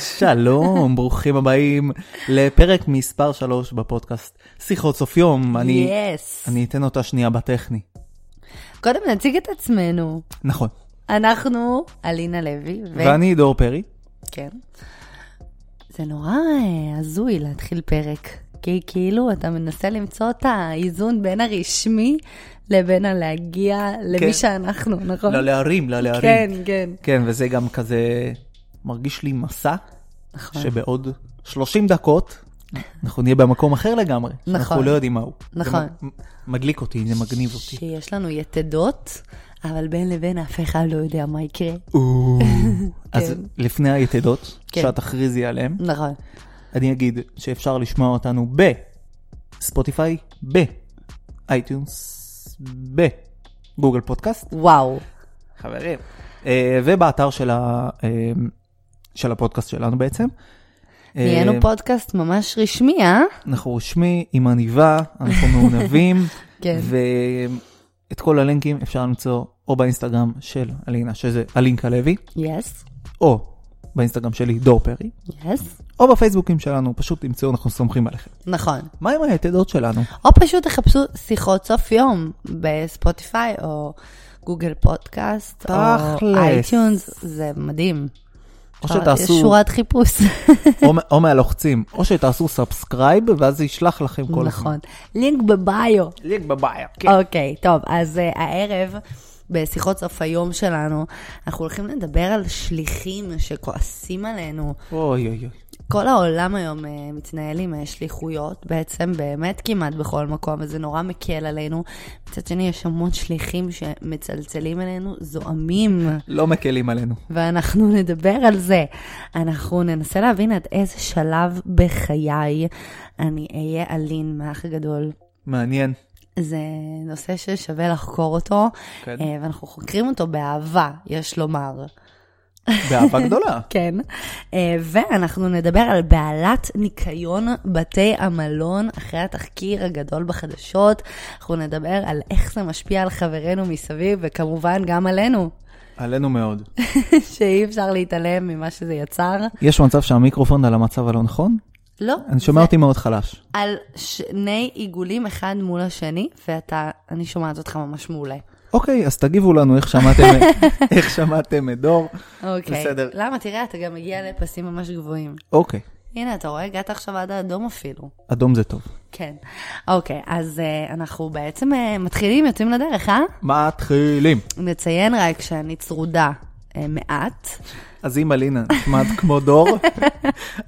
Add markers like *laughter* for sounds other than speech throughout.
שלום, ברוכים הבאים לפרק מספר 3 בפודקאסט שיחות סוף יום. אני, יס. אני אתן אותה שנייה בטכני. קודם נציג את עצמנו. נכון. אנחנו אלינה לוי, ו... ואני דור פרי. כן. זה נורא אה, הזוי להתחיל פרק, כי כאילו אתה מנסה למצוא את האיזון בין הרשמי לבין הלהגיע למי כן. שאנחנו, נכון? לא להרים, לא להרים. כן, כן. כן, וזה גם כזה מרגיש לי מסע, נכון. שבעוד 30 דקות אנחנו נהיה במקום אחר לגמרי. אנחנו נכון. לא יודעים מהו. זה נכון. מ- מדליק אותי, זה מגניב אותי. שיש לנו יתדות, אבל בין לבין אף אחד לא יודע מה יקרה. *laughs* או. אז כן. לפני היתדות, כן. שאת תכריזי עליהן, נכון. אני אגיד שאפשר לשמוע אותנו בספוטיפיי, באייטיונס, בגוגל פודקאסט, וואו. חברים, אה, ובאתר של, ה, אה, של הפודקאסט שלנו בעצם. נהיינו אה, פודקאסט ממש רשמי, אה? אנחנו רשמי עם עניבה, אנחנו מעונבים, כן. ואת כל הלינקים אפשר למצוא או באינסטגרם של אלינה, שזה אלינקה לוי, יס. או באינסטגרם שלי, דור פרי, יס. או בפייסבוקים שלנו, פשוט תמצאו, אנחנו סומכים עליכם. נכון. מה עם היתדות שלנו? או פשוט תחפשו שיחות סוף יום בספוטיפיי או גוגל פודקאסט או תכלס. אייטיונס, זה מדהים. או אפשר- שתעשו- יש שורת חיפוש, או, מ- או מהלוחצים, או שתעשו סאבסקרייב, ואז זה ישלח לכם *laughs* כל הזמן. נכון. לינק בביו. לינק בבעיה, כן. אוקיי, טוב, אז אה, הערב, בשיחות סוף היום שלנו, אנחנו הולכים לדבר על שליחים שכועסים עלינו. אוי אוי אוי. כל העולם היום אה, מתנהל עם אה, שליחויות, בעצם באמת כמעט בכל מקום, וזה נורא מקל עלינו. מצד שני, יש המון שליחים שמצלצלים אלינו, זועמים, לא מקלים עלינו. ואנחנו *laughs* נדבר על זה. אנחנו ננסה להבין עד איזה שלב בחיי אני אהיה אלין מהאח הגדול. מעניין. זה נושא ששווה לחקור אותו, כן. אה, ואנחנו חוקרים אותו באהבה, יש לומר. באהבה גדולה. כן. אה, ואנחנו נדבר על בעלת ניקיון בתי המלון אחרי התחקיר הגדול בחדשות. אנחנו נדבר על איך זה משפיע על חברינו מסביב, וכמובן גם עלינו, *laughs* עלינו מאוד. שאי אפשר להתעלם ממה שזה יצר. יש מצב שהמיקרופון על המצב הלא נכון? לא, אני שומע אותי מאוד חלש. על שני עיגולים אחד מול השני, ואתה, אני שומעת אותך ממש מעולה. אוקיי, אז תגיבו לנו איך שמעתם, איך שמעתם את דור. אוקיי. בסדר. למה? תראה, אתה גם מגיע לפסים ממש גבוהים. אוקיי, הנה, אתה רואה? הגעת עכשיו עד האדום אפילו. אדום זה טוב. כן. אוקיי, אז אה, אנחנו בעצם אה, מתחילים, יוצאים לדרך, אה? מתחילים. נציין רק שאני צרודה אה, מעט. אז אם אלינה נשמעת כמו דור,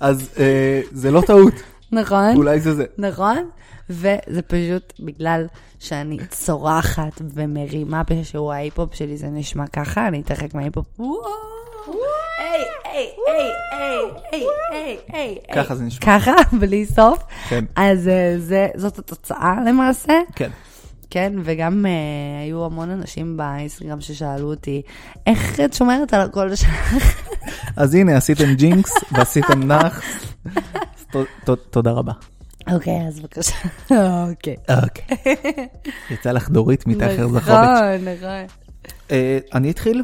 אז אה, זה לא טעות, נכון? אולי זה זה. נכון? וזה פשוט בגלל שאני צורחת ומרימה בשיעור ההיפ-הופ שלי, זה נשמע ככה, אני אתרחק מההיפ-הופ. וואו! היי, היי, היי, היי, היי, היי, היי. ככה זה נשמע. ככה, בלי סוף. כן. אז אה, זה- זאת התוצאה למעשה. כן. כן, וגם אה, היו המון אנשים באינסטגרם ששאלו אותי, איך את שומרת על הקול שלך? *laughs* אז הנה, עשיתם ג'ינקס ועשיתם נאחס. אז ת- ת- תודה רבה. אוקיי, אז בבקשה. *laughs* אוקיי. אוקיי. יצא לך דורית מתאחר זכובת. נכון, נכון. אה, אני אתחיל?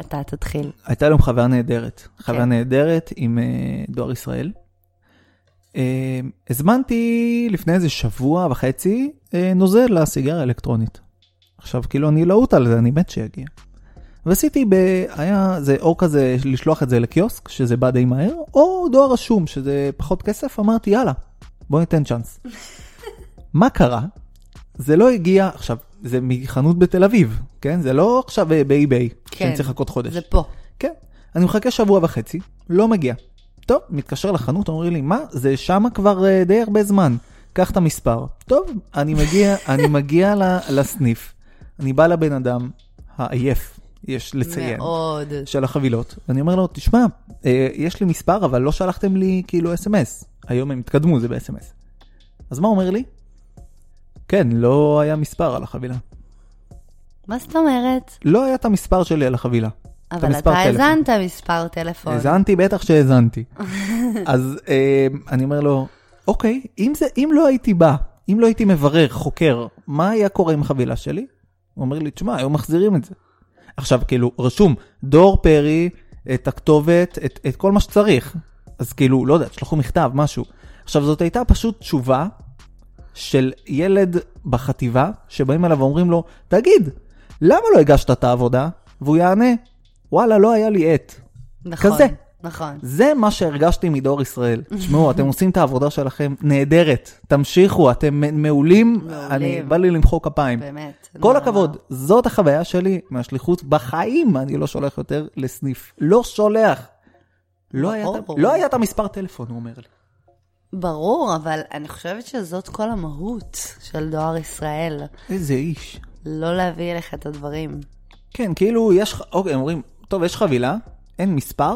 אתה תתחיל. הייתה לנו חוויה נהדרת. חוויה כן. נהדרת עם אה, דואר ישראל. אה, הזמנתי לפני איזה שבוע וחצי אה, נוזל לסיגריה האלקטרונית. עכשיו, כאילו, אני להוט על זה, אני מת שיגיע. ועשיתי, ב... היה זה או כזה לשלוח את זה לקיוסק, שזה בא די מהר, או דואר רשום, שזה פחות כסף, אמרתי, יאללה, בוא *laughs* ניתן צ'אנס. מה קרה? זה לא הגיע, עכשיו, זה מחנות בתל אביב, כן? זה לא עכשיו אה, באי-ביי, כן. שאני צריך לחכות חודש. זה פה. כן. אני מחכה שבוע וחצי, לא מגיע. טוב, מתקשר לחנות, אומרים לי, מה? זה שמה כבר אה, די הרבה זמן. קח את המספר. טוב, אני מגיע, אני מגיע ל- לסניף, אני בא לבן אדם העייף, יש לציין, מאוד. של החבילות, ואני אומר לו, תשמע, אה, יש לי מספר, אבל לא שלחתם לי כאילו אס.אם.אס. היום הם התקדמו, זה באס.אם.אס. אז מה הוא אומר לי? כן, לא היה מספר על החבילה. מה זאת אומרת? לא היה את המספר שלי על החבילה. את אבל המספר אתה טלפון. האזנת מספר טלפון. האזנתי, בטח שהאזנתי. אז אה, אני אומר לו, אוקיי, אם, זה, אם לא הייתי בא, אם לא הייתי מברר, חוקר, מה היה קורה עם החבילה שלי? הוא אומר לי, תשמע, היום מחזירים את זה. עכשיו, כאילו, רשום, דור פרי, את הכתובת, את, את כל מה שצריך. אז כאילו, לא יודע, תשלחו מכתב, משהו. עכשיו, זאת הייתה פשוט תשובה של ילד בחטיבה, שבאים אליו ואומרים לו, תגיד, למה לא הגשת את העבודה? והוא יענה, וואלה, לא היה לי עט. נכון. כזה. נכון. זה מה שהרגשתי מדואר *laughs* ישראל. תשמעו, אתם עושים את העבודה שלכם נהדרת. תמשיכו, אתם מ- מעולים. מעולים. אני, בא לי למחוא כפיים. באמת. כל לא, הכבוד, לא. זאת החוויה שלי מהשליחות בחיים, אני לא שולח יותר לסניף. לא שולח. לא היה את ה- ברור. לא היה את המספר טלפון, הוא אומר לי. לא. ברור, אבל אני חושבת שזאת כל המהות של דואר ישראל. איזה איש. לא להביא אליך את הדברים. כן, כאילו, יש, ח- אוקיי, הם אומרים, טוב, יש חבילה, אין מספר,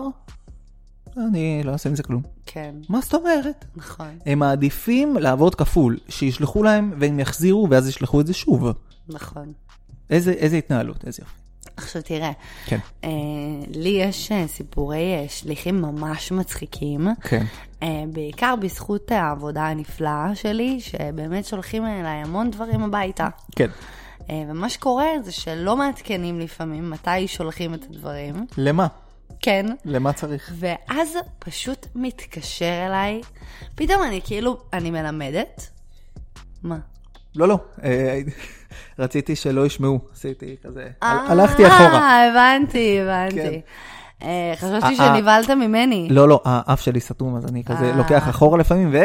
אני לא אעשה עם זה כלום. כן, מה זאת אומרת? נכון, הם מעדיפים לעבוד כפול, שישלחו להם והם יחזירו ואז ישלחו את זה שוב. נכון. איזה, איזה התנהלות, איזה יופי. עכשיו תראה, כן. אה, לי יש אה, סיפורי אה, שליחים ממש מצחיקים. כן. אה, בעיקר בזכות העבודה הנפלאה שלי, שבאמת שולחים אה, אליי המון דברים הביתה. כן. אה, ומה שקורה זה שלא מעדכנים לפעמים מתי שולחים את הדברים. למה? כן. למה צריך? ואז פשוט מתקשר אליי, פתאום אני כאילו, אני מלמדת. מה? לא, לא. אה, רציתי שלא ישמעו, עשיתי כזה. אה, הל- הלכתי אחורה. אה, הבנתי, הבנתי. אה, חשבתי אה, אה. שנבהלת ממני. לא, לא, האף שלי סתום, אז אני כזה אה. לוקח אחורה לפעמים, ו...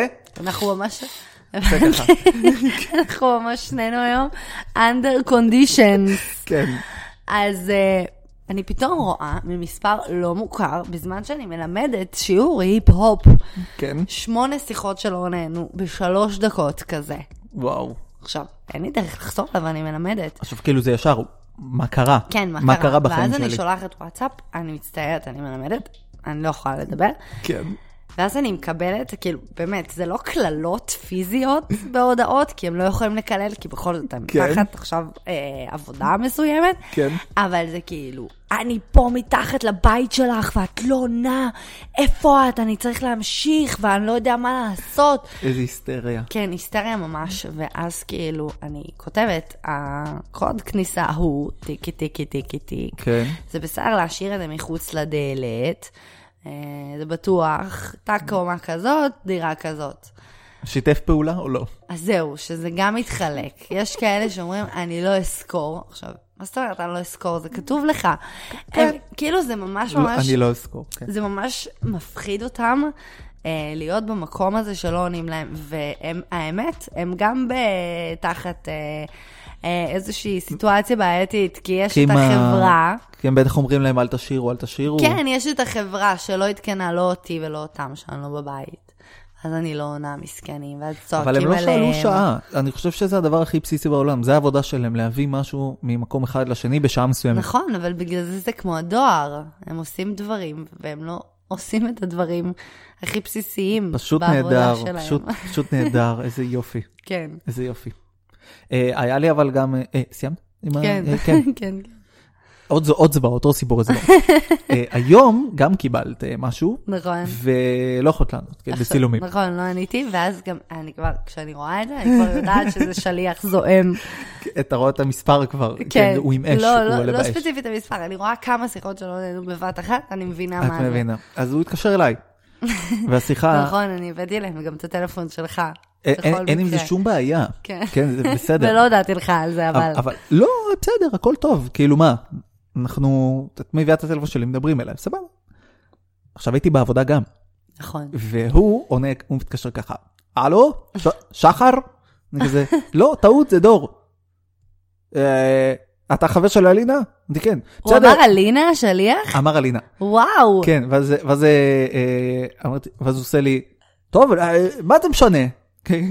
אנחנו ממש... זה כן, ככה. *laughs* אנחנו ממש שנינו היום under conditions. כן. אז אה, אני פתאום רואה ממספר לא מוכר, בזמן שאני מלמדת שיעור היפ-הופ, כן. שמונה שיחות שלא נענו בשלוש דקות כזה. וואו. עכשיו, אין לי דרך לחזור לה ואני מלמדת. עכשיו, כאילו זה ישר, מה קרה? כן, מה קרה? מה קרה בחיים ואז אני שלי? שולחת וואטסאפ, אני מצטערת, אני מלמדת, אני לא יכולה לדבר. כן. ואז אני מקבלת, כאילו, באמת, זה לא קללות פיזיות בהודעות, כי הם לא יכולים לקלל, כי בכל זאת הם כן. תחת עכשיו אה, עבודה מסוימת. כן. אבל זה כאילו, אני פה מתחת לבית שלך, ואת לא עונה, איפה את? אני צריך להמשיך, ואני לא יודע מה לעשות. איזה היסטריה. כן, היסטריה ממש, ואז כאילו, אני כותבת, הקוד כניסה הוא טיקי טיקי טיקי טיק. כן. זה בסדר להשאיר את זה מחוץ לדלת, אה, זה בטוח, תא קומה כזאת, דירה כזאת. שיתף פעולה או לא? אז זהו, שזה גם מתחלק. יש כאלה שאומרים, אני לא אזכור. עכשיו, מה זאת אומרת, אני לא אזכור? זה כתוב לך. הם, כאילו, זה ממש כן. לא, ממש, אני לא אזכור. כן. זה ממש מפחיד אותם אה, להיות במקום הזה שלא עונים להם. והאמת, הם גם ב- תחת... אה, אה, איזושהי סיטואציה בעייתית, כי יש כי את אם ה- החברה, כי הם בטח אומרים להם אל תשאירו, אל תשאירו. כן, יש את החברה שלא עדכנה לא אותי ולא אותם, שאני לא בבית. אז אני לא עונה מסכנים, ואז צועקים אבל עליהם. הם לא שאלו שעה, אני חושב שזה הדבר הכי בסיסי בעולם, זה העבודה שלהם, להביא משהו ממקום אחד לשני בשעה מסוימת. נכון, אבל בגלל זה זה כמו הדואר. הם עושים דברים, והם לא עושים את הדברים הכי בסיסיים פשוט בעבודה נהדר, שלהם. פשוט- פשוט נהדר, איזה יופי, *laughs* כן, איזה יופי. אה, היה לי אבל גם, אה, אה, סיימת? עם ה- כן, אה, כן, כן. *laughs* כן. עוד זו- עוד זוועה, אותו *laughs* סיפור זוועה. אה, היום גם קיבלת אה, משהו, *laughs* נכון. ולא יכולת לענות, כן, עכשיו, בצילומים. נכון, לא עניתי, ואז גם, אני כבר, כשאני רואה את זה, אני כבר יודעת *laughs* שזה שליח זועם. אתה רואה את המספר כבר, כן, אוקיי. כן. הוא עם אש, לא, הוא לא, עולה לא באש. ספציפית המספר, אני רואה כמה שיחות שלא נהנו בבת אחת, אני מבינה מה את זה. מבינה. אז הוא *laughs* התקשר אליי, והשיחה, נכון, אני הבאתי להם גם את הטלפון שלך. אה, בכל אין אין עם זה מקרה. שום בעיה. כן. כן, זה בסדר. ולא הודעתי לך על זה, אבל... אבל לא, בסדר, הכל טוב, כאילו מה, אנחנו, את מביאה את הטלפון שלי, מדברים אליי, סבבה. עכשיו הייתי בעבודה גם, נכון. והוא עונה, הוא מתקשר ככה, הלו, ש- שחר? אני כזה, *laughs* לא, טעות, זה דור. "אה, אתה חבר של אלינה? אמרתי כן. הוא אמר אלינה השליח? אמר אלינה. וואו. כן, ואז, ואז, אה, אה, אמרתי, ואז הוא עושה לי, טוב, אה, מה זה משנה? כן.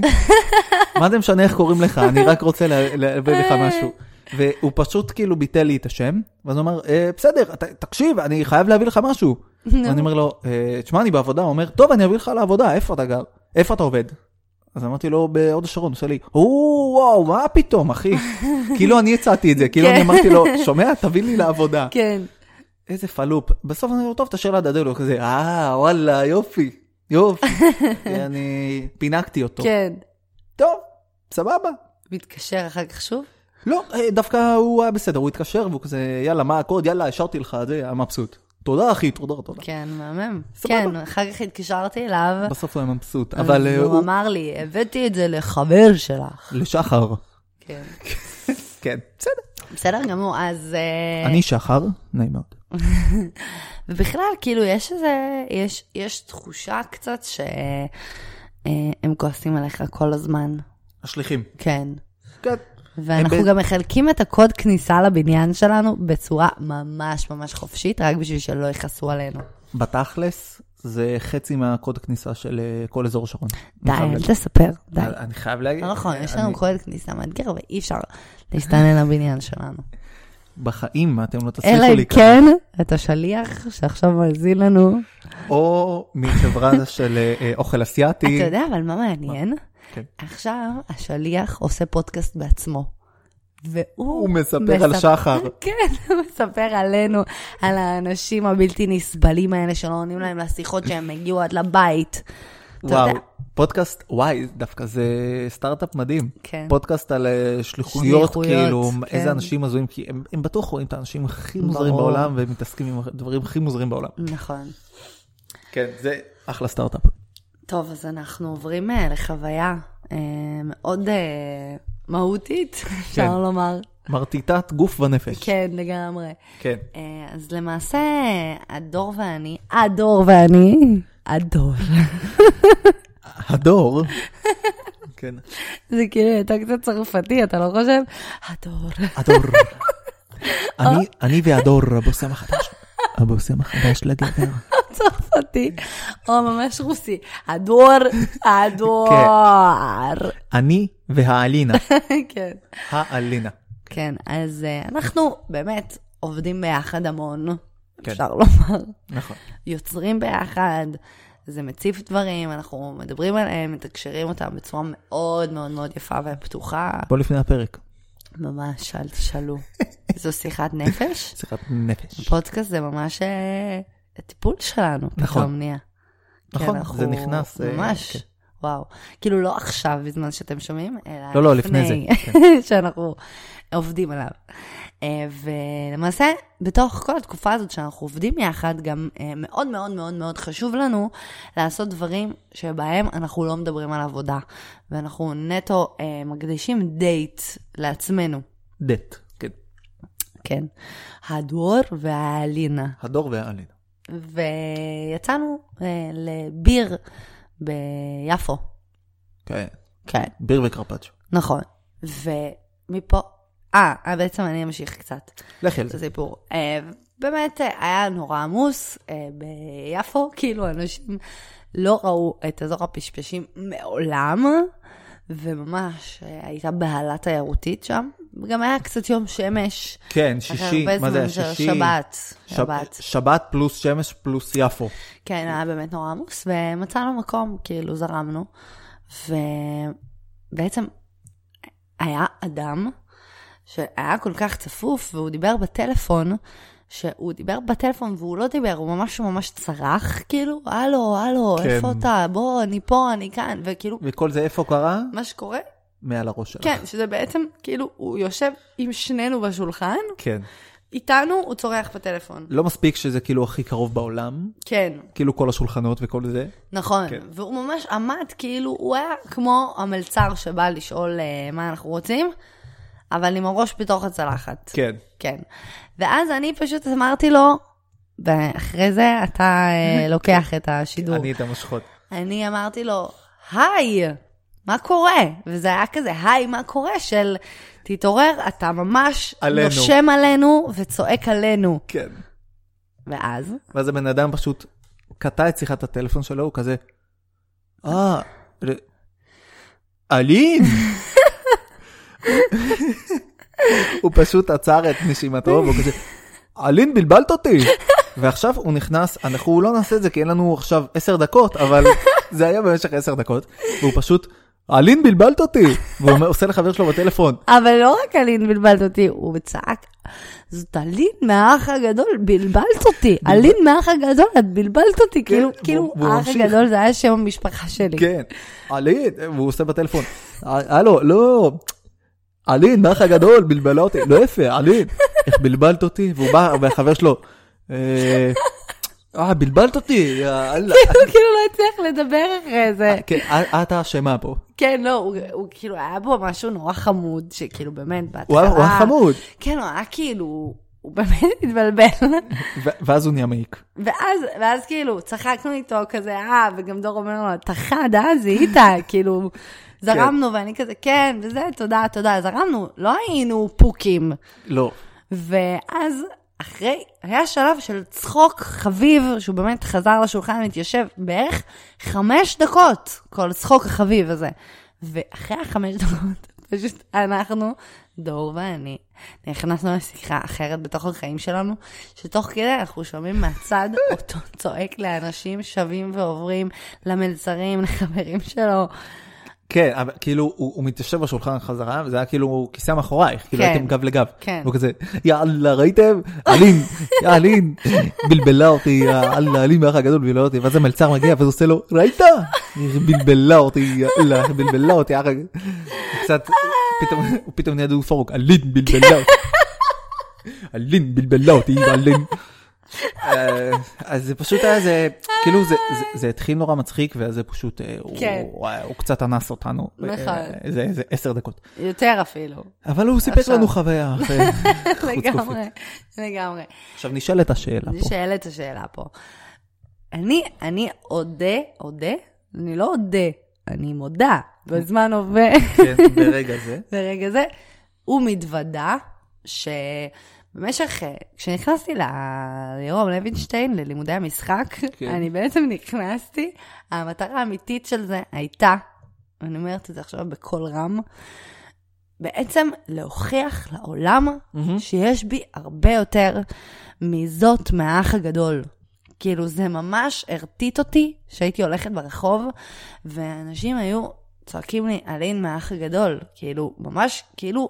מה זה משנה איך קוראים לך? אני רק רוצה לה- להביא לך משהו. והוא פשוט כאילו ביטל לי את השם, ואז הוא אמר, "אה, בסדר, ת, תקשיב, אני חייב להביא לך משהו. ואני אומר לו, "אה, תשמע, אני בעבודה, הוא אומר, טוב, אני אביא לך לעבודה, איפה אתה גר? איפה אתה עובד? אז אמרתי לו, בהוד השרון, הוא עושה לי, או, וואו, מה פתאום, אחי? כאילו אני הצעתי את זה, כאילו אני כן. אמרתי לו, שומע, תביא לי לעבודה. כן. איזה פלופ. בסוף אני אומר, טוב, תשאיר ליד הדלת, הוא כזה, אה, וואלה, יופי, יופי. *laughs* אני פינקתי אותו. כן. טוב, סבבה. מתקשר אחר כך שוב? לא, אה, דווקא הוא היה בסדר, הוא התקשר, והוא כזה, יאללה, מה הקוד, יאללה, השארתי לך, זה היה מבסוט. תודה אחי, תודה, תודה. כן, מהמם. סבבה. כן, אחר כך התקשרתי אליו, בסוף הוא היה מבסוט, אז אבל אה, הוא הוא... אמר לי, הבאתי את זה לחבר שלך. לשחר. כן. *laughs* כן, בסדר. בסדר גמור, אז... אה, אני שחר, נעים מאוד. ובכלל, כאילו, יש איזה, יש, יש תחושה קצת שהם כועסים עליך כל הזמן. השליחים. כן. כן. ואנחנו הם ב- גם מחלקים את הקוד כניסה לבניין שלנו בצורה ממש ממש חופשית, רק בשביל שלא יכעסו עלינו. בתכלס, זה חצי מהקוד הכניסה של אה, כל אזור שרון. די, אני חייב אל להגיד. תספר, די. אני חייב להגיד. לא נכון, יש לנו אה, אני- קוד כניסה מאתגר ואי אפשר *laughs* להסתנן לבניין שלנו. בחיים אתם לא תצליחו אלא לי אם כן, אתה שליח שעכשיו מאזין לנו. או מחברה *laughs* של אה, אה, אוכל אסיאתי. אתה יודע, אבל מה מעניין? כן. עכשיו השליח עושה פודקאסט בעצמו. והוא הוא מספר על *laughs* שחר. כן, הוא מספר עלינו, על האנשים הבלתי נסבלים האלה שלא עונים להם לשיחות שהם הגיעו עד לבית. אתה וואו, יודע- פודקאסט, וואי, דווקא זה סטארט-אפ מדהים. כן. פודקאסט על אה, שליחויות, שליחויות, כאילו, כן. איזה אנשים הזויים, כי הם- הם בטוח רואים את האנשים הכי מוזרים ברור. בעולם, והם מתעסקים עם הדברים הכי מוזרים בעולם. נכון. כן, זה אחלה סטארט-אפ. טוב, אז אנחנו עוברים אה, לחוויה אה, מאוד אה, מהותית, *laughs* אפשר לומר. מרטיטת גוף ונפש. כן, לגמרי. כן. אה, אז למעשה, הדור ואני, הדור ואני, הדור. *laughs* הדור. כן. זה כאילו הייתה קצת צרפתי, אתה לא חושב? הדור. הדור. אני- אני והדור, הבושם החדש. הבושם החדש לגבר. צרפתי, או ממש רוסי. הדור, הדור. אני והאלינה. כן. האלינה. כן, אז אה, אנחנו באמת עובדים ביחד המון, כן. אפשר לומר. נכון. יוצרים ביחד, זה מציף דברים, אנחנו מדברים עליהם, מתקשרים אותם בצורה מאוד מאוד מאוד יפה ופתוחה. בוא לפני הפרק. ממש, אל תשאלו. זו שיחת נפש? שיחת נפש. פודקאסט זה ממש אה, הטיפול שלנו, נכון. פתאום נהיה. נכון, כן, זה אנחנו- נכנס, אה, ממש, כן. וואו. כאילו לא עכשיו בזמן שאתם שומעים, אלא לא, לא, לפני זה, כן. *laughs* שאנחנו עובדים עליו. אה, ולמעשה, בתוך כל התקופה הזאת שאנחנו עובדים יחד, גם אה, מאוד מאוד מאוד מאוד חשוב לנו לעשות דברים שבהם אנחנו לא מדברים על עבודה, ואנחנו נטו אה, מקדישים דייט לעצמנו, דט. כן. כן? הדור והאלינה. הדור והאלינה. ויצאנו אה, לביר ביפו. כן. כן. ביר וקרפצ'ו. נכון. ומפה... אה, אה, בעצם אני אמשיך קצת לכי על את זה. הסיפור. אה, באמת אה, היה נורא עמוס אה, ביפו, *laughs* כאילו אנשים לא ראו את אזור הפשפשים מעולם, וממש אה, הייתה בהלה תיירותית שם. גם היה קצת יום שמש. כן, אחרי שישי. הרבה מה זה היה? זמן של שישי? שבת. שב- שבת. שבת פלוס שמש פלוס יפו. כן, היה באמת נורא עמוס, ומצאנו מקום, כאילו, זרמנו. ובעצם היה אדם שהיה כל כך צפוף, והוא דיבר בטלפון, שהוא דיבר בטלפון והוא לא דיבר, הוא ממש ממש צרח, כאילו, הלו, הלו, כן. כן. איפה אתה? בוא, אני פה, אני כאן, וכאילו, וכל זה איפה קרה? מה שקורה, מעל הראש שלך. כן, שזה בעצם, כאילו, הוא יושב עם שנינו בשולחן, כן. איתנו הוא צורח בטלפון. לא מספיק שזה כאילו הכי קרוב בעולם, כן, כאילו כל השולחנות וכל זה. נכון, כן. כן. והוא ממש עמד כאילו, הוא היה כמו המלצר שבא לשאול אה, מה אנחנו רוצים, אבל עם הראש בתוך הצלחת. כן. כן. ואז אני פשוט אמרתי לו, ואחרי זה אתה *laughs* אה, לוקח את השידור. כן. אני את המושכות. אני אמרתי לו, היי, מה קורה? וזה היה כזה, היי, מה קורה? של, תתעורר, אתה ממש עלינו. נושם עלינו וצועק עלינו. כן. ואז, ואז הבן אדם פשוט קטע את שיחת הטלפון שלו, הוא כזה, אה, ר- אלין! הוא פשוט עצר את נשימתו, והוא כזה, אלין, בלבלת אותי! ועכשיו הוא נכנס, אנחנו לא נעשה את זה כי אין לנו עכשיו עשר דקות, אבל זה היה במשך עשר דקות, והוא פשוט, אלין, בלבלת אותי! והוא אומר- עושה לחבר שלו בטלפון, אבל לא רק אלין בלבלת אותי, הוא צעק, זאת אלין מהאח הגדול, בלבלת אותי. אלין מהאח הגדול, את בלבלת אותי. כאילו, כן, והוא- כאילו, והוא האח ממשיך. הגדול זה היה שם המשפחה שלי. כן, אלין, והוא עושה בטלפון, הלו, לא, אלין, האח הגדול, בלבלה אותי, לא יפה, אלין, איך בלבלת אותי, והוא בא, והחבר שלו, "אה, אה, בלבלת אותי, הוא יאללה. *laughs* כאילו לא הצליח לדבר אחרי זה. כן, את- את האשמה פה. כן, לא, הוא, הוא כאילו, היה בו משהו נורא חמוד, שכאילו באמת, הוא בהתחלה... היה הוא היה חמוד, כן, הוא היה כאילו, הוא באמת התבלבל. ו- ואז הוא נהיה מעיק. ואז, ואז כאילו, צחקנו איתו כזה, אה, וגם דור אומר לו, אתה חד, אה, זיהית, *laughs* כאילו, זרמנו, ואני כזה, כן, וזה, תודה, תודה, זרמנו, לא היינו פוקים. לא. ואז, אחרי, היה שלב של צחוק חביב, שהוא באמת חזר לשולחן, התיישב בערך חמש דקות, כל הצחוק החביב הזה. ואחרי החמש *laughs* דקות, פשוט אנחנו, דור ואני, נכנסנו לשיחה אחרת בתוך החיים שלנו, שתוך כדי אנחנו שומעים מהצד אותו צועק לאנשים שווים ועוברים, למלצרים, לחברים שלו. כן, אבל כאילו, הוא הוא מתיישב בשולחן חזרה, וזה היה כאילו כיסא מאחורייך, כאילו כן. הייתם גב לגב. כן. והוא כזה, יאללה, ראיתם? אלין, יא אלין, בלבלה אותי, יאללה, אלין באח הגדול בלבלה אותי, ואז המלצר מגיע, ואז הוא עושה לו, ראית? היא בלבלה אותי, יאללה, בלבלה אותי, אח הגדול. קצת, פתאום, הוא פתאום נהיה דוד פורק, אלין, בלבלה אותי. אלין, בלבלה אותי, *laughs* אלין. אה, אז זה פשוט היה זה, כאילו זה, זה, זה התחיל נורא מצחיק, ואז זה פשוט, אה, הוא, כן. הוא, הוא קצת אנס אותנו. נכון. אה, זה איזה עשר דקות. יותר אפילו. אבל הוא סיפק עכשיו. לנו *laughs* חוויה. אה, חוץ-גופית. לגמרי, לגמרי. עכשיו נשאלת השאלה פה. נשאלת השאלה פה. אני, אני אודה, אודה? אני לא אודה, אני מודה. בזמן הווה, כן, ברגע זה. ברגע זה, ומתוודה שבמשך, אה, כשנכנסתי ל- לירום לוינשטיין, ללימודי המשחק, כן. כן. אני בעצם נכנסתי, המטרה האמיתית של זה הייתה, אני אומרת את זה עכשיו בקול רם, בעצם להוכיח לעולם מהמם. שיש בי הרבה יותר מזאת מהאח הגדול. כאילו, זה ממש הרטיט אותי שהייתי הולכת ברחוב, ואנשים היו צועקים לי, אלין מהאח הגדול. כאילו, ממש, כאילו,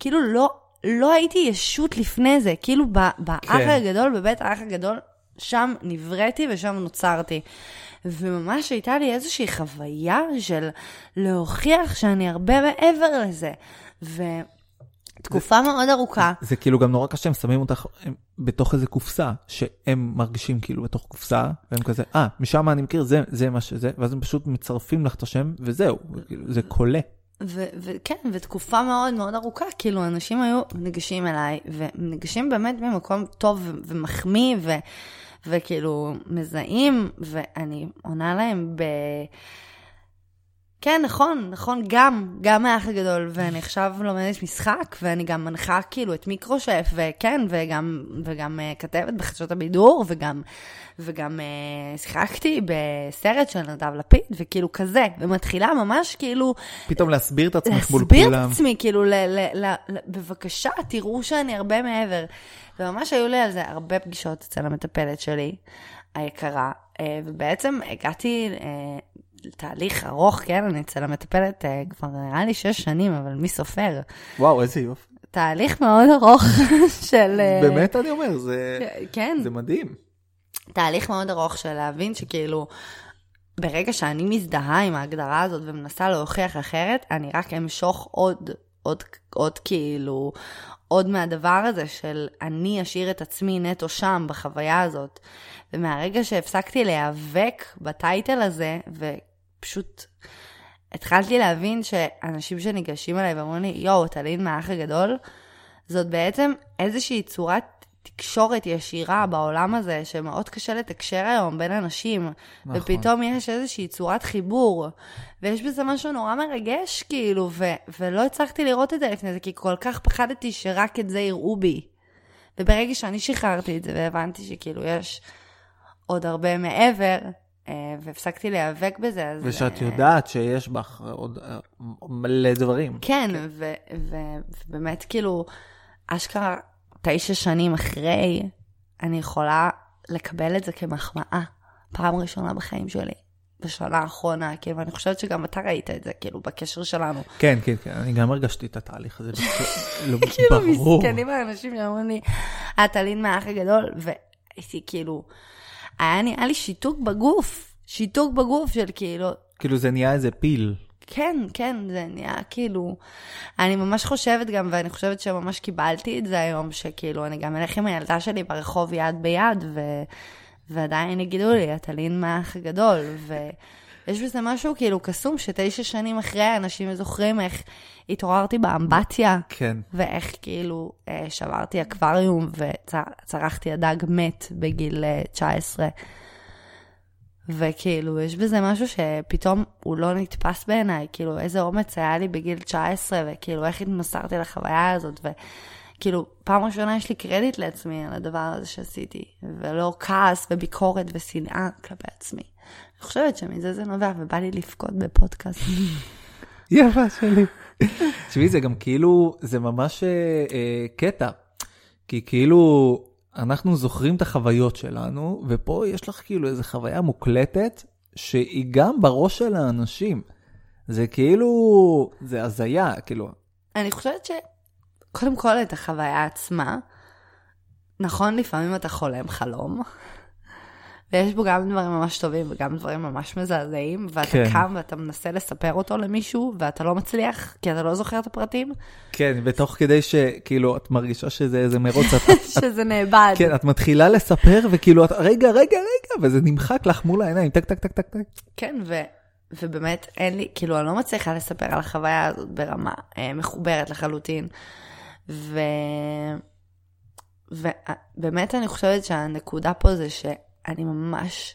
כאילו לא, לא הייתי ישות לפני זה. כאילו, ב- באח כן. הגדול, בבית האח הגדול, שם נבראתי ושם נוצרתי. וממש הייתה לי איזושהי חוויה של להוכיח שאני הרבה מעבר לזה. ותקופה מאוד ארוכה. זה כאילו גם נורא קשה, הם שמים אותך הם, בתוך איזה קופסה, שהם מרגישים כאילו בתוך קופסה, והם כזה, אה, משם אני מכיר, זה, זה מה שזה, ואז הם פשוט מצרפים לך את השם, וזהו, כאילו, זה קולה. ו- וכן, ותקופה מאוד מאוד ארוכה, כאילו, אנשים היו ניגשים אליי, וניגשים באמת במקום טוב ו- ומחמיא, ו- וכאילו, מזהים, ואני עונה להם ב... כן, נכון, נכון, גם, גם האח הגדול, ואני עכשיו לומדת משחק, ואני גם מנחה כאילו את מיקרושף, וכן, וגם, וגם uh, כתבת בחדשות הבידור, וגם, וגם uh, שיחקתי בסרט של נדב לפיד, וכאילו כזה, ומתחילה ממש כאילו פתאום להסביר את עצמך מול להסביר כולם. את עצמי, כאילו, ל, ל, ל, ל, בבקשה, תראו שאני הרבה מעבר. וממש היו לי על זה הרבה פגישות אצל המטפלת שלי, היקרה, אה, ובעצם הגעתי אה, לתהליך ארוך, כן, אני אצל המטפלת אה, כבר נראה לי שש שנים, אבל מי סופר? וואו, איזה יופי. תהליך מאוד ארוך *laughs* של... אה, באמת אני אומר, זה, כן. זה מדהים. תהליך מאוד ארוך של להבין שכאילו, ברגע שאני מזדהה עם ההגדרה הזאת ומנסה להוכיח אחרת, אני רק אמשוך עוד, עוד, עוד כאילו, עוד מהדבר הזה של אני אשאיר את עצמי נטו שם, בחוויה הזאת. ומהרגע שהפסקתי להיאבק בטייטל הזה, ופשוט התחלתי להבין שאנשים שניגשים אליי ואומרים לי, יואו, את אלין מהאח הגדול, זאת בעצם איזושהי צורת תקשורת ישירה בעולם הזה, שמאוד קשה לתקשר היום בין אנשים. נכון. נכון. ופתאום יש איזושהי צורת חיבור, ויש בזה משהו נורא מרגש, כאילו, ו- ולא הצלחתי לראות את זה לפני זה, כי כל כך פחדתי שרק את זה יראו בי. וברגע שאני שחררתי את זה והבנתי שכאילו יש עוד הרבה מעבר, אה, והפסקתי להיאבק בזה, אז... נכון. ושאת אה, יודעת שיש בך עוד אה, מלא דברים. כן, ו- ו- ובאמת, כאילו, אשכרה תשע שנים אחרי, אני יכולה לקבל את זה כמחמאה. פעם ראשונה בחיים שלי, בשנה האחרונה, כאילו, ואני חושבת שגם אתה ראית את זה, כאילו, בקשר שלנו. כן, כן, כן, אני גם הרגשתי את התהליך הזה. *laughs* בצורה- לא, כאילו, ברור. מסכנים האנשים שאומרים לי, את אלין מהאח הגדול, והייתי כאילו, היה נראה לי שיתוק בגוף, שיתוק בגוף של כאילו, כאילו זה נהיה איזה פיל. כן, כן, זה נהיה כאילו... אני ממש חושבת גם, ואני חושבת שממש קיבלתי את זה היום, שכאילו, אני גם אלך עם הילדה שלי ברחוב יד ביד, ו... ועדיין יגידו לי, אתה לין מהאח הגדול, ויש בזה משהו כאילו קסום, שתשע שנים אחרי אנשים זוכרים איך התעוררתי באמבטיה, כן. ואיך כאילו אה, שברתי אקווריום וצרחתי הדג מת בגיל אה, 19. וכאילו, יש בזה משהו שפתאום הוא לא נתפס בעיניי, כאילו, איזה אומץ היה לי בגיל 19, וכאילו, איך התמסרתי לחוויה הזאת, וכאילו, פעם ראשונה יש לי קרדיט לעצמי על הדבר הזה שעשיתי, ולא כעס וביקורת ושנאה כלפי עצמי. אני חושבת שמזה זה נובע, ובא לי לבכות בפודקאסט. יפה שלי. תשמעי, זה גם כאילו, זה ממש אה, אה, קטע. כי כאילו, אנחנו זוכרים את החוויות שלנו, ופה יש לך כאילו איזו חוויה מוקלטת, שהיא גם בראש של האנשים. זה כאילו, זה הזיה, כאילו, אני חושבת שקודם כל את החוויה עצמה, נכון, לפעמים אתה חולם חלום, ויש בו גם דברים ממש טובים וגם דברים ממש מזעזעים, ואתה כן. כן. קם ואתה מנסה לספר אותו למישהו, ואתה לא מצליח, כי אתה לא זוכר את הפרטים, כן, ותוך כדי שכאילו, את מרגישה שזה איזה מרוץ, את, *laughs* את, שזה נאבד. כן, את מתחילה לספר, וכאילו, את, רגע, רגע, רגע, וזה נמחק לך מול העיניים, טק, טק, טק, טק, טק. כן, ו... ובאמת אין לי, כאילו, אני לא מצליחה לספר על החוויה הזאת ברמה אה, מחוברת לחלוטין. ו... ובאמת אני חושבת שהנקודה פה זה שאני ממש,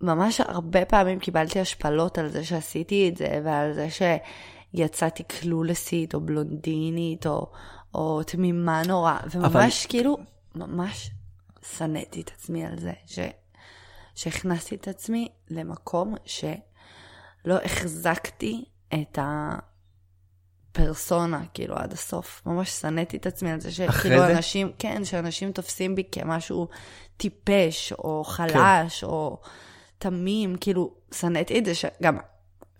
ממש הרבה פעמים קיבלתי השפלות על זה שעשיתי את זה, ועל זה שיצאתי קלולסית, או בלונדינית, או, או תמימה נורא, וממש אבל... כאילו, ממש שנאתי את עצמי על זה, ש... שהכנסתי את עצמי למקום שלא החזקתי את הפרסונה, כאילו, עד הסוף. ממש שנאתי את עצמי על זה שכאילו זה? אנשים, כן, שאנשים תופסים בי כמשהו טיפש, או חלש, כן. או תמים, כאילו, שנאתי את זה שגם...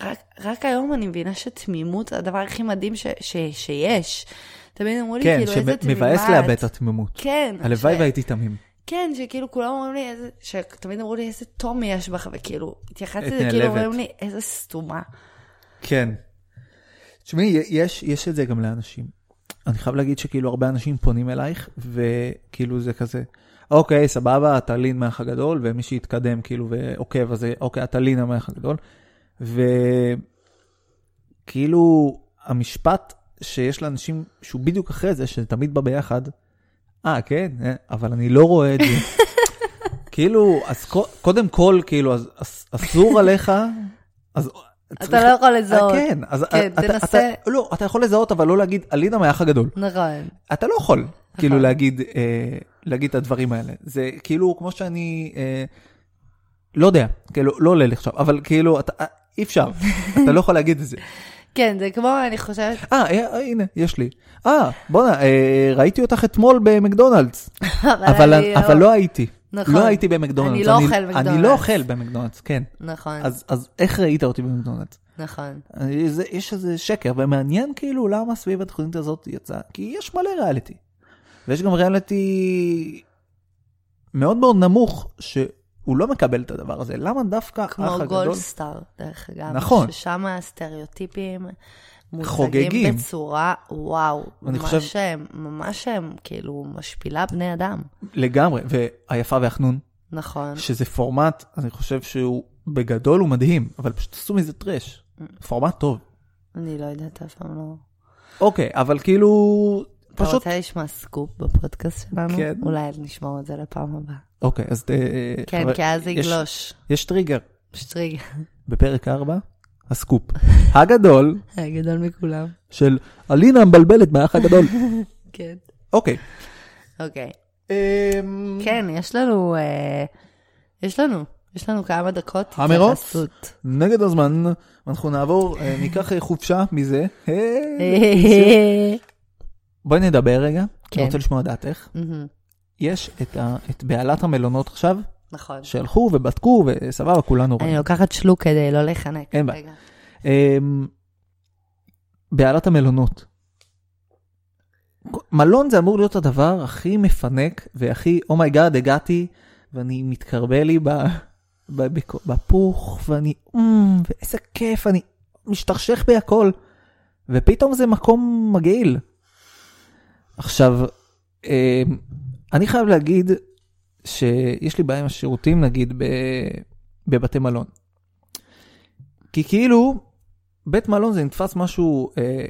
רק, רק היום אני מבינה שתמימות זה הדבר הכי מדהים ש, ש, שיש. תמיד אמרו לי, כן, כאילו, איזה תמימה שמבאס את. לאבד את התמימות. כן. ש- הלוואי והייתי תמים. כן, שכאילו כולם אומרים לי איזה, שתמיד אמרו לי איזה תומי יש בך, וכאילו, התייחסתי את לזה, כאילו נעלבת. אומרים לי איזה סתומה. כן. תשמעי, יש, יש את זה גם לאנשים. אני חייב להגיד שכאילו הרבה אנשים פונים אלייך, וכאילו זה כזה, אוקיי, סבבה, אתה לין מהאח הגדול, ומי שהתקדם כאילו ועוקב, אז זה, אוקיי, אתה לין המאח הגדול. וכאילו, המשפט שיש לאנשים, שהוא בדיוק אחרי זה, שזה תמיד בא ביחד, אה, כן, אה, אבל אני לא רואה את זה. *laughs* כאילו, אז קו- קודם כל, כאילו, אז, אז אסור עליך, אז... אתה לא יכול לזהות. אה, כן, אז כן, אתה, תנסה. אתה, לא, אתה יכול לזהות, אבל לא להגיד, אלינה מהאח הגדול. נכון. אתה לא יכול, כאילו, להגיד, אה, להגיד את הדברים האלה. זה כאילו, כמו שאני, אה, לא יודע, כאילו, לא עולה לי עכשיו, אבל כאילו, אתה, אה, *laughs* אי אפשר, אתה לא יכול להגיד את זה. כן, זה כמו, אני חושבת, אה, אה, אה, הנה, יש לי. אה, בואנה, אה, ראיתי אותך אתמול במקדונלדס. *laughs* אבל, אבל אני אבל לא הייתי. נכון. לא הייתי במקדונלדס. אני לא אוכל אני במקדונלדס. לא אוכל במקדונלדס, כן. נכון, אז, אז איך ראית אותי במקדונלדס? נכון. אני- זה- יש איזה שקר, ומעניין כאילו למה סביב התוכנית הזאת יצאה, כי יש מלא ריאליטי. ויש גם ריאליטי מאוד מאוד נמוך, שהוא לא מקבל את הדבר הזה. למה דווקא האח כמו הגדול? גולדסטאר, דרך אגב. נכון. ששם הסטריאוטיפים חוגגים. מוצגים בצורה, וואו, אני ממש חושב- שהם, ממש שהם, כאילו, משפילה בני אדם. לגמרי, והיפה והחנון, נכון. שזה פורמט, אני חושב שהוא בגדול הוא מדהים, אבל פשוט עשו מזה טרש. Mm. פורמט טוב. אני לא יודעת, אף פעם לא... אוקיי, אבל כאילו, אתה פשוט... רוצה לשמוע סקופ בפודקאסט שלנו? כן. אולי נשמור את זה לפעם הבאה. אוקיי, אז... אה, כן, אבל- כי אז זה יש- יגלוש. יש טריגר. שטריג. בפרק 4, הסקופ. *laughs* הגדול הגדול מכולם. של אלינה המבלבלת מהאח הגדול. כן. אוקיי. אוקיי. אמ, כן, יש לנו... אה, יש לנו. יש לנו כמה דקות. המרוץ? *laughs* התייחסות. נגד הזמן, אנחנו נעבור, אה, ניקח אה, חופשה מזה. אה, בואי נדבר רגע. כן. אני רוצה לשמוע דעתך. מהמם. יש את ה- את בעלת המלונות עכשיו, נכון. שהלכו ובדקו, וסבבה, כולנו רואים. אני לוקחת שלוק כדי לא להיחנק. אוקיי. אין בעיה. רגע. אמ, בעלת המלונות. מלון זה אמור להיות הדבר הכי מפנק והכי, אומייגאד, oh my God, הגעתי ואני מתקרבה לי ב, ב, בק- בפוך ואני, mm, ואיזה כיף, אני משתכשך בהכל. ופתאום זה מקום מגעיל. עכשיו, אמ, אני חייב להגיד שיש לי בעיה עם השירותים, נגיד, ב... בבתי מלון. כי כאילו, בית מלון זה נתפס משהו אה,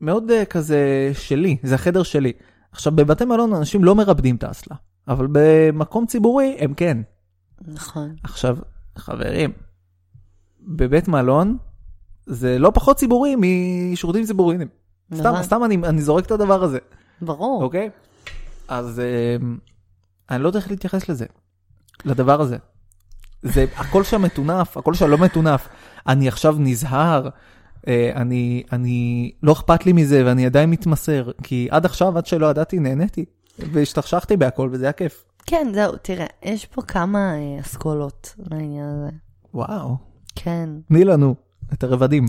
מאוד אה, כזה שלי, זה החדר שלי. עכשיו, בבתי מלון אנשים לא מרפדים את האסלה, אבל במקום ציבורי הם כן. נכון. עכשיו, חברים, בבית מלון זה לא פחות ציבורי משירותים ציבוריים. סתם, נכון. סתם אני, אני זורק את הדבר הזה, ברור. אוקיי? אז אה, אני לא יודע איך להתייחס לזה, לדבר הזה. זה הכל שם מטונף, הכל שם לא מטונף. אני עכשיו נזהר, אה, אני, אני, לא אכפת לי מזה ואני עדיין מתמסר, כי עד עכשיו, עד שלא ידעתי, נהניתי. והשתכשכתי בהכל וזה היה כיף. כן, זהו, תראה, יש פה כמה אה, אסכולות לעניין הזה. וואו, כן. תני לנו את הרבדים.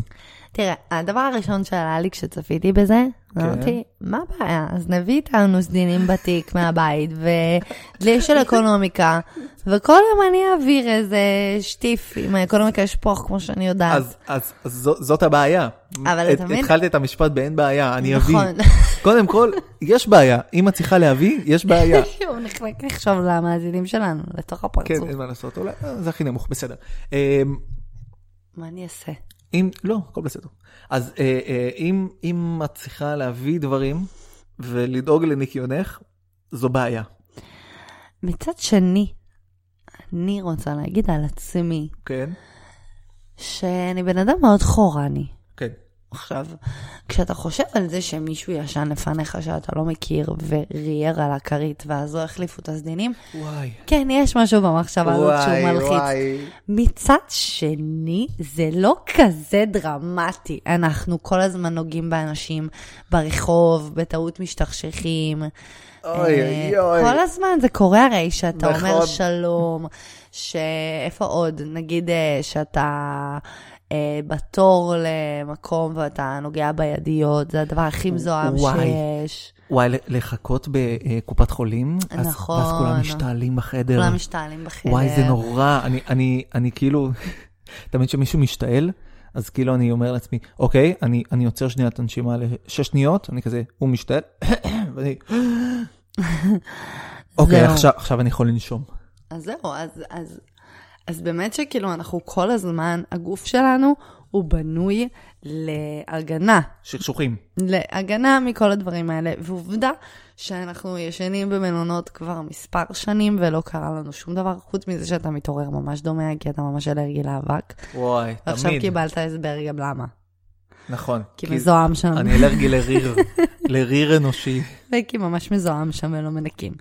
תראה, הדבר הראשון שעלה לי כשצפיתי בזה, כן. אמרתי, מה הבעיה? אז נביא איתנו סדינים בתיק *laughs* מהבית, ודלי של אקונומיקה, וכל יום אני אעביר איזה שטיף עם האקונומיקה אשפוך, כמו שאני יודעת. אז, אז, אז זו, זאת הבעיה. אבל את- אתה מבין? התחלת את המשפט באין בעיה, אני אביא. נכון. קודם כל, יש בעיה. אם את צריכה להביא, *laughs* יש בעיה. הוא נחלק לחשוב למאזינים שלנו, לתוך כן, הפרצוף. אין מה לעשות, אולי, אה, זה הכי נמוך, בסדר. אמ, מה אני אעשה? אם, לא, הכל בסדר. אז אה, אה, אם, אם את צריכה להביא דברים ולדאוג לניקיונך, זו בעיה. מצד שני, אני רוצה להגיד על עצמי, כן? שאני בן אדם מאוד חורני. כן. עכשיו, כשאתה חושב על זה שמישהו ישן לפניך שאתה לא מכיר ורייר על הכרית ואז לא החליפו את הסדינים, וואי. כן, יש משהו במחשבה הזאת שהוא מלחיץ. וואי. מצד שני, זה לא כזה דרמטי. אנחנו כל הזמן נוגעים באנשים ברחוב, בטעות משתכשכים. אוי, אה, אוי, אוי. כל הזמן זה קורה הרי שאתה נכון. אומר שלום, שאיפה עוד? נגיד אה, שאתה אה, בתור למקום ואתה נוגע בידיות, זה הדבר הכי מזוהם וואי. שיש. וואי, לחכות בקופת חולים? אז- ואז נכון. כולם משתעלים בחדר. כולם משתעלים בחדר. וואי, זה נורא. אני, אני, אני כאילו, *laughs* תמיד כשמישהו משתעל, אז כאילו אני אומר לעצמי, אוקיי, אני, אני עוצר שנייה את הנשימה לשש שניות, אני כזה, הוא משתעל, *coughs* ואני... אוקיי, זהו. עכשיו, עכשיו אני יכול לנשום. אז זהו, אז, אז, אז באמת שכאילו אנחנו כל הזמן, הגוף שלנו הוא בנוי להגנה, שכשוכים. להגנה מכל הדברים האלה, ועובדה שאנחנו ישנים במלונות כבר מספר שנים ולא קרה לנו שום דבר, חוץ מזה שאתה מתעורר ממש דומע, כי אתה ממש אלרגי לאבק. וואי, ועכשיו תמיד. קיבלת הסבר גם למה, נכון. כי מזוהם שם, אני אלרגי לריר, לריר אנושי. כי ממש מזוהם שם ולא מנקים.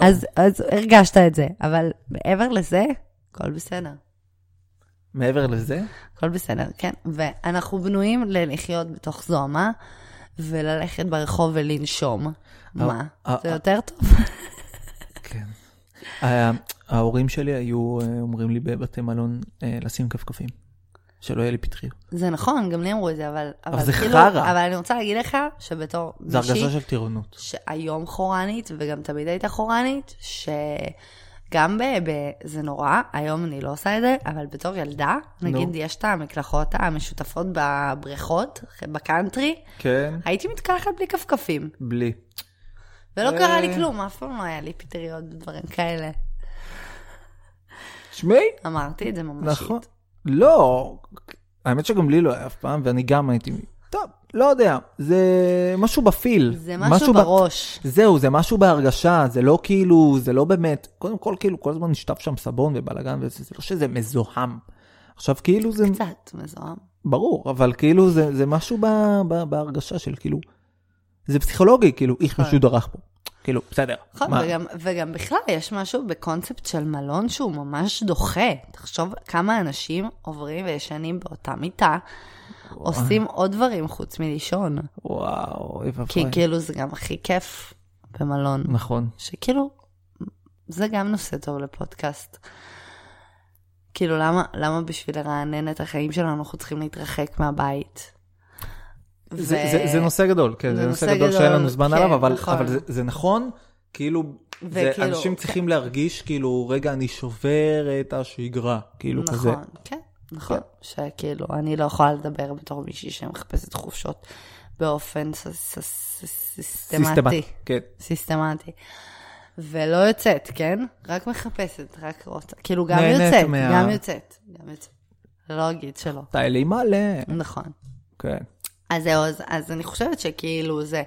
אז, אז הרגשת את זה, אבל מעבר לזה, הכל בסדר. מעבר לזה, הכל בסדר, כן. ואנחנו בנויים ללחיות בתוך זוהמה, וללכת ברחוב ולנשום. מה? אה, זה אה. יותר טוב? כן. ה- ההורים שלי היו אה, אומרים לי בבתי מלון אה, לשים כפכפים, שלא יהיה לי פטריות. זה נכון, גם לי אמרו את זה, אבל... זה כאילו- חרא. אבל אני רוצה להגיד לך, שבתור זו מישהי הרגשה של טירונות. שהיום חורנית, וגם תמיד הייתה חורנית, שגם ב... ב... זה נורא, היום אני לא עושה את זה, אבל בתור ילדה, נו. נגיד, יש את המקלחות המשותפות בבריכות, בקאנטרי, כן. הייתי מתקלחת בלי כפכפים. בלי. ולא אה. קרה לי כלום, אף פעם לא היה לי פטריות ודברים כאלה. שמעי. אמרתי את זה ממשית. נכון. לא, האמת שגם לי לא היה אף פעם, ואני גם הייתי... טוב, לא יודע, זה משהו בפיל. זה משהו ב- בראש. זהו, זה משהו בהרגשה, זה לא כאילו, זה לא באמת, קודם כל כאילו כל הזמן נשטף שם סבון ובלאגן, וזה זה לא שזה מזוהם. עכשיו כאילו זה, קצת מזוהם. ברור, אבל כאילו זה, זה משהו ב, ב, בהרגשה של כאילו, זה פסיכולוגי, כאילו, איך מישהו דרך פה. כאילו, בסדר. נכון, מה? וגם, וגם בכלל יש משהו בקונספט של מלון שהוא ממש דוחה. תחשוב כמה אנשים עוברים וישנים באותה מיטה, אה, עושים עוד דברים חוץ מלישון. וואו, איפה כי כאילו זה גם הכי כיף במלון. נכון. שכאילו, זה גם נושא טוב לפודקאסט. כאילו, למה, למה בשביל לרענן את החיים שלנו אנחנו צריכים להתרחק מהבית? זה, זה, זה נושא גדול, כן, זה, נושא גדול שאין לנו זמן כן, עליו, אבל, נכון. אבל זה, זה נכון, כאילו, זה, וכאילו, אנשים כן. צריכים להרגיש כאילו, רגע, אני שובר את השגרה, כאילו נכון, כזה. כן, נכון. שכאילו, אני לא יכולה לדבר בתור מישהי שמחפשת חופשות באופן ס- ס- ס- סיסטמטי. סיסטמט- כן. סיסטמטי. ולא יוצאת, כן? רק מחפשת, רק רוצה. כאילו, גם נהנית יוצאת, מה- גם יוצאת, גם יוצאת. לא אגיד שלא. טיילי מלא. נכון. כן. אז זהו, אז, אז אני חושבת שכאילו זה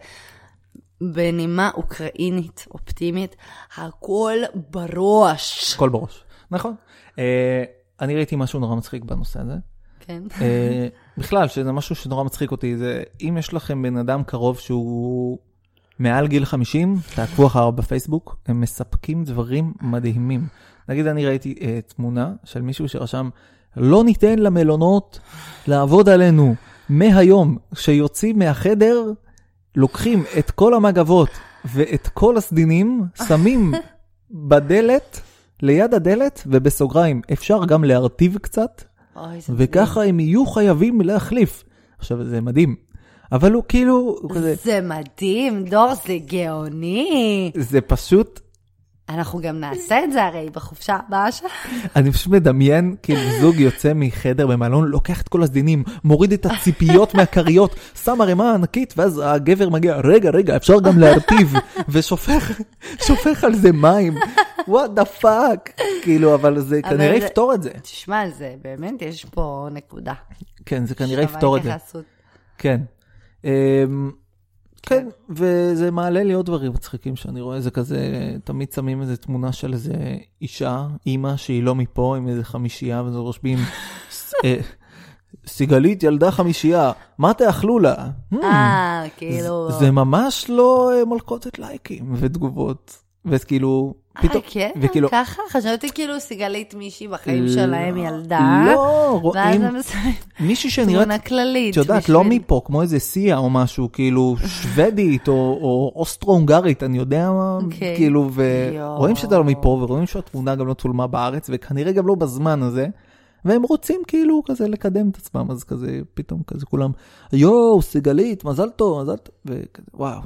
בנימה אוקראינית, אופטימית, הכל בראש. הכל בראש. נכון. אה, אני ראיתי משהו נורא מצחיק בנושא הזה. כן. אה, בכלל, שזה משהו שנורא מצחיק אותי, זה אם יש לכם בן אדם קרוב שהוא מעל גיל 50, תעקבו אחריו בפייסבוק, הם מספקים דברים מדהימים. נגיד אני ראיתי אה, תמונה של מישהו שרשם, לא ניתן למלונות לעבוד עלינו. מהיום, כשיוצאים מהחדר, לוקחים את כל המגבות ואת כל הסדינים, שמים בדלת, ליד הדלת, ובסוגריים, אפשר גם להרטיב קצת, אוי, זה וככה הם יהיו חייבים להחליף. עכשיו, זה מדהים. אבל הוא כאילו, הוא כזה, מדהים. זה מדהים, דור, זה גאוני. זה פשוט, אנחנו גם נעשה את זה הרי בחופשה הבאה שלנו. אני פשוט מדמיין, כאילו זוג יוצא מחדר במלון, לוקח את כל הסדינים, מוריד את הציפיות מהכריות, שם ערימה ענקית, ואז הגבר מגיע, רגע, רגע, אפשר גם להרטיב, ושופך, שופך על זה מים. וואט דה פאק. כאילו, אבל זה אבל כנראה זה- יפתור את זה. תשמע, זה באמת, יש פה נקודה. כן, זה כנראה יפתור את זה. שווה התייחסות. כן. אמ, כן, וזה מעלה לי עוד דברים מצחיקים שאני רואה, זה כזה, תמיד שמים איזה תמונה של איזה אישה, אימא שהיא לא מפה, עם איזה חמישייה, וזה רושמים, "ס- אה, סיגלית ילדה חמישייה, מה תאכלו לה? "Hmm, אה, כאילו... זה ממש לא אה, מלכודת לייקים ותגובות, וכאילו, פתאום, אה, כן? וכאילו, ככה? חשבתי כאילו סיגלית מישהי בחיים לא, שלהם ילדה. לא, רואים ואז הם שמים מישהי שנראית תמונה כללית. את יודעת, בשביל- לא מפה, כמו איזה סיה או משהו, כאילו שוודית או, או אוסטרו-הונגרית, אני יודע מה, אוקיי. כאילו, ורואים יואו. שאתה לא מפה, ורואים שהתמונה גם לא צולמה בארץ, וכנראה גם לא בזמן הזה, והם רוצים כאילו כזה לקדם את עצמם, אז כזה, פתאום כזה כולם, יואו, סיגלית, מזל טוב, מזל טוב, וכזה, וואו,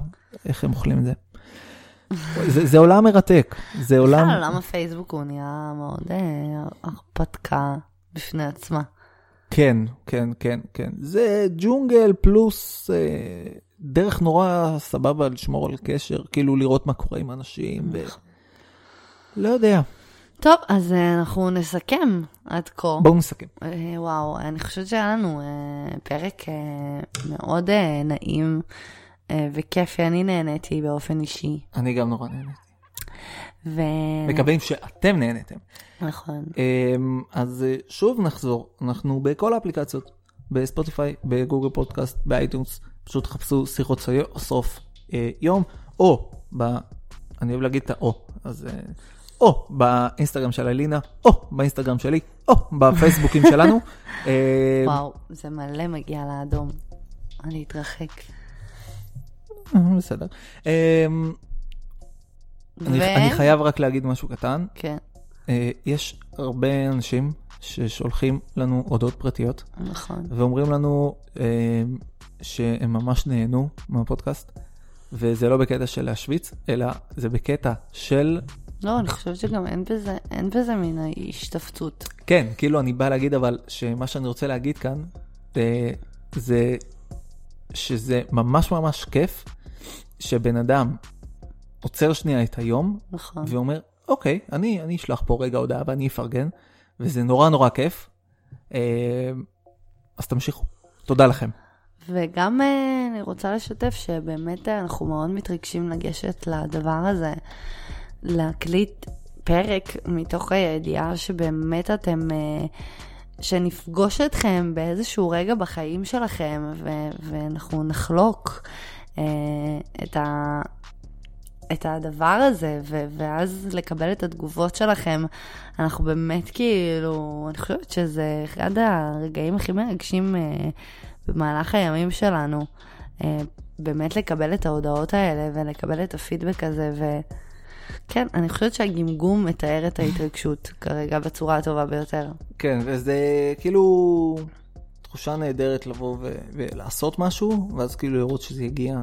איך הם אוכלים *laughs* את זה. זה, זה עולם מרתק, זה עולם, בכלל, עולם הפייסבוק לא, הוא נהיה מאוד אה, הרפתקה בפני עצמה. כן, כן, כן, כן. זה ג'ונגל פלוס אה, דרך נורא סבבה לשמור על קשר, כאילו לראות מה קורה עם אנשים, ו... לא יודע. טוב, אז אה, אנחנו נסכם עד כה. בואו נסכם. אה, וואו, אני חושבת שהיה לנו אה, פרק אה, מאוד אה, נעים אה, וכיפי, אני נהניתי באופן אישי. אני גם נורא נהניתי. ו... מקווים שאתם נהנתם. נכון. אמ, אז אה, שוב נחזור, אנחנו בכל האפליקציות, בספוטיפיי, בגוגל פודקאסט, באייטונס, פשוט חפשו שיחות סי- סוף אה, יום, או ב... אני אוהב להגיד את ה"או", אז... אה, או באינסטגרם של אלינה, או באינסטגרם שלי, או בפייסבוקים שלנו. אה, וואו, זה מלא מגיע לאדום. אני אתרחק. בסדר. אמ, אני אני חייב רק להגיד משהו קטן. כן, אה, יש הרבה אנשים ששולחים לנו הודעות פרטיות. נכון. ואומרים לנו אה, שהם ממש נהנו מהפודקאסט, וזה לא בקטע של להשוויץ, אלא זה בקטע של, לא, אני חושבת שגם אין בזה, אין בזה מין ההשתפצות. כן, כאילו אני בא להגיד אבל שמה שאני רוצה להגיד כאן, אה, זה שזה ממש ממש כיף שבן אדם עוצר שנייה את היום נכון. ואומר, אוקיי, אני, אני אשלח פה רגע הודעה ואני אפרגן, וזה נורא נורא כיף, אה, אז תמשיכו, תודה לכם. וגם אה, אני רוצה לשתף שבאמת אה, אנחנו מאוד מתרגשים לגשת לדבר הזה, להקליט פרק מתוך הידיעה שבאמת אתם, אה, שנפגוש אתכם באיזשהו רגע בחיים שלכם, ו- ואנחנו נחלוק אה, את ה... את הדבר הזה, ו- ואז לקבל את התגובות שלכם, אנחנו באמת כאילו, אני חושבת שזה אחד הרגעים הכי מרגשים אה, במהלך הימים שלנו. אה, באמת לקבל את ההודעות האלה ולקבל את הפידבק הזה, וכן, אני חושבת שהגמגום מתאר את ההתרגשות כרגע בצורה הטובה ביותר. כן, וזה כאילו תחושה נהדרת לבוא ו- ולעשות משהו, ואז כאילו לראות שזה יגיע,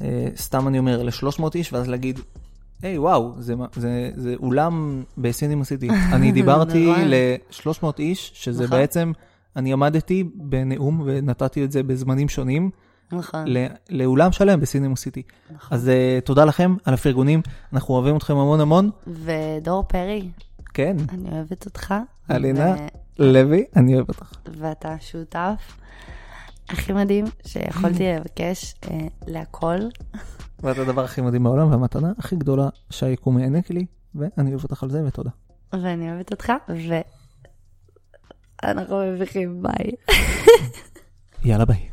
אה, סתם אני אומר, ל-300 איש, ואז להגיד, היי hey, וואו, זה, מה- זה, זה אולם בסינים *laughs* עשיתי. אני דיברתי נכון. ל-300 איש, שזה נכון. בעצם, אני עמדתי בנאום ונתתי את זה בזמנים שונים, נכון. ל- לאולם שלם בסינימו סיטי. אז אה, תודה לכם על הפרגונים, אנחנו אוהבים אתכם המון המון. ודור פרי, כן, אני אוהבת אותך. אלינה ו- לוי, אני אוהב אותך. ואתה שותף הכי מדהים שיכולתי לבקש אה, להכל. ואת הדבר הכי מדהים בעולם, והמתנה הכי גדולה שהיקום העניק לי, ואני אוהב אותך על זה, ותודה. ואני אוהבת אותך, ואנחנו מביכים, ביי. יאללה ביי.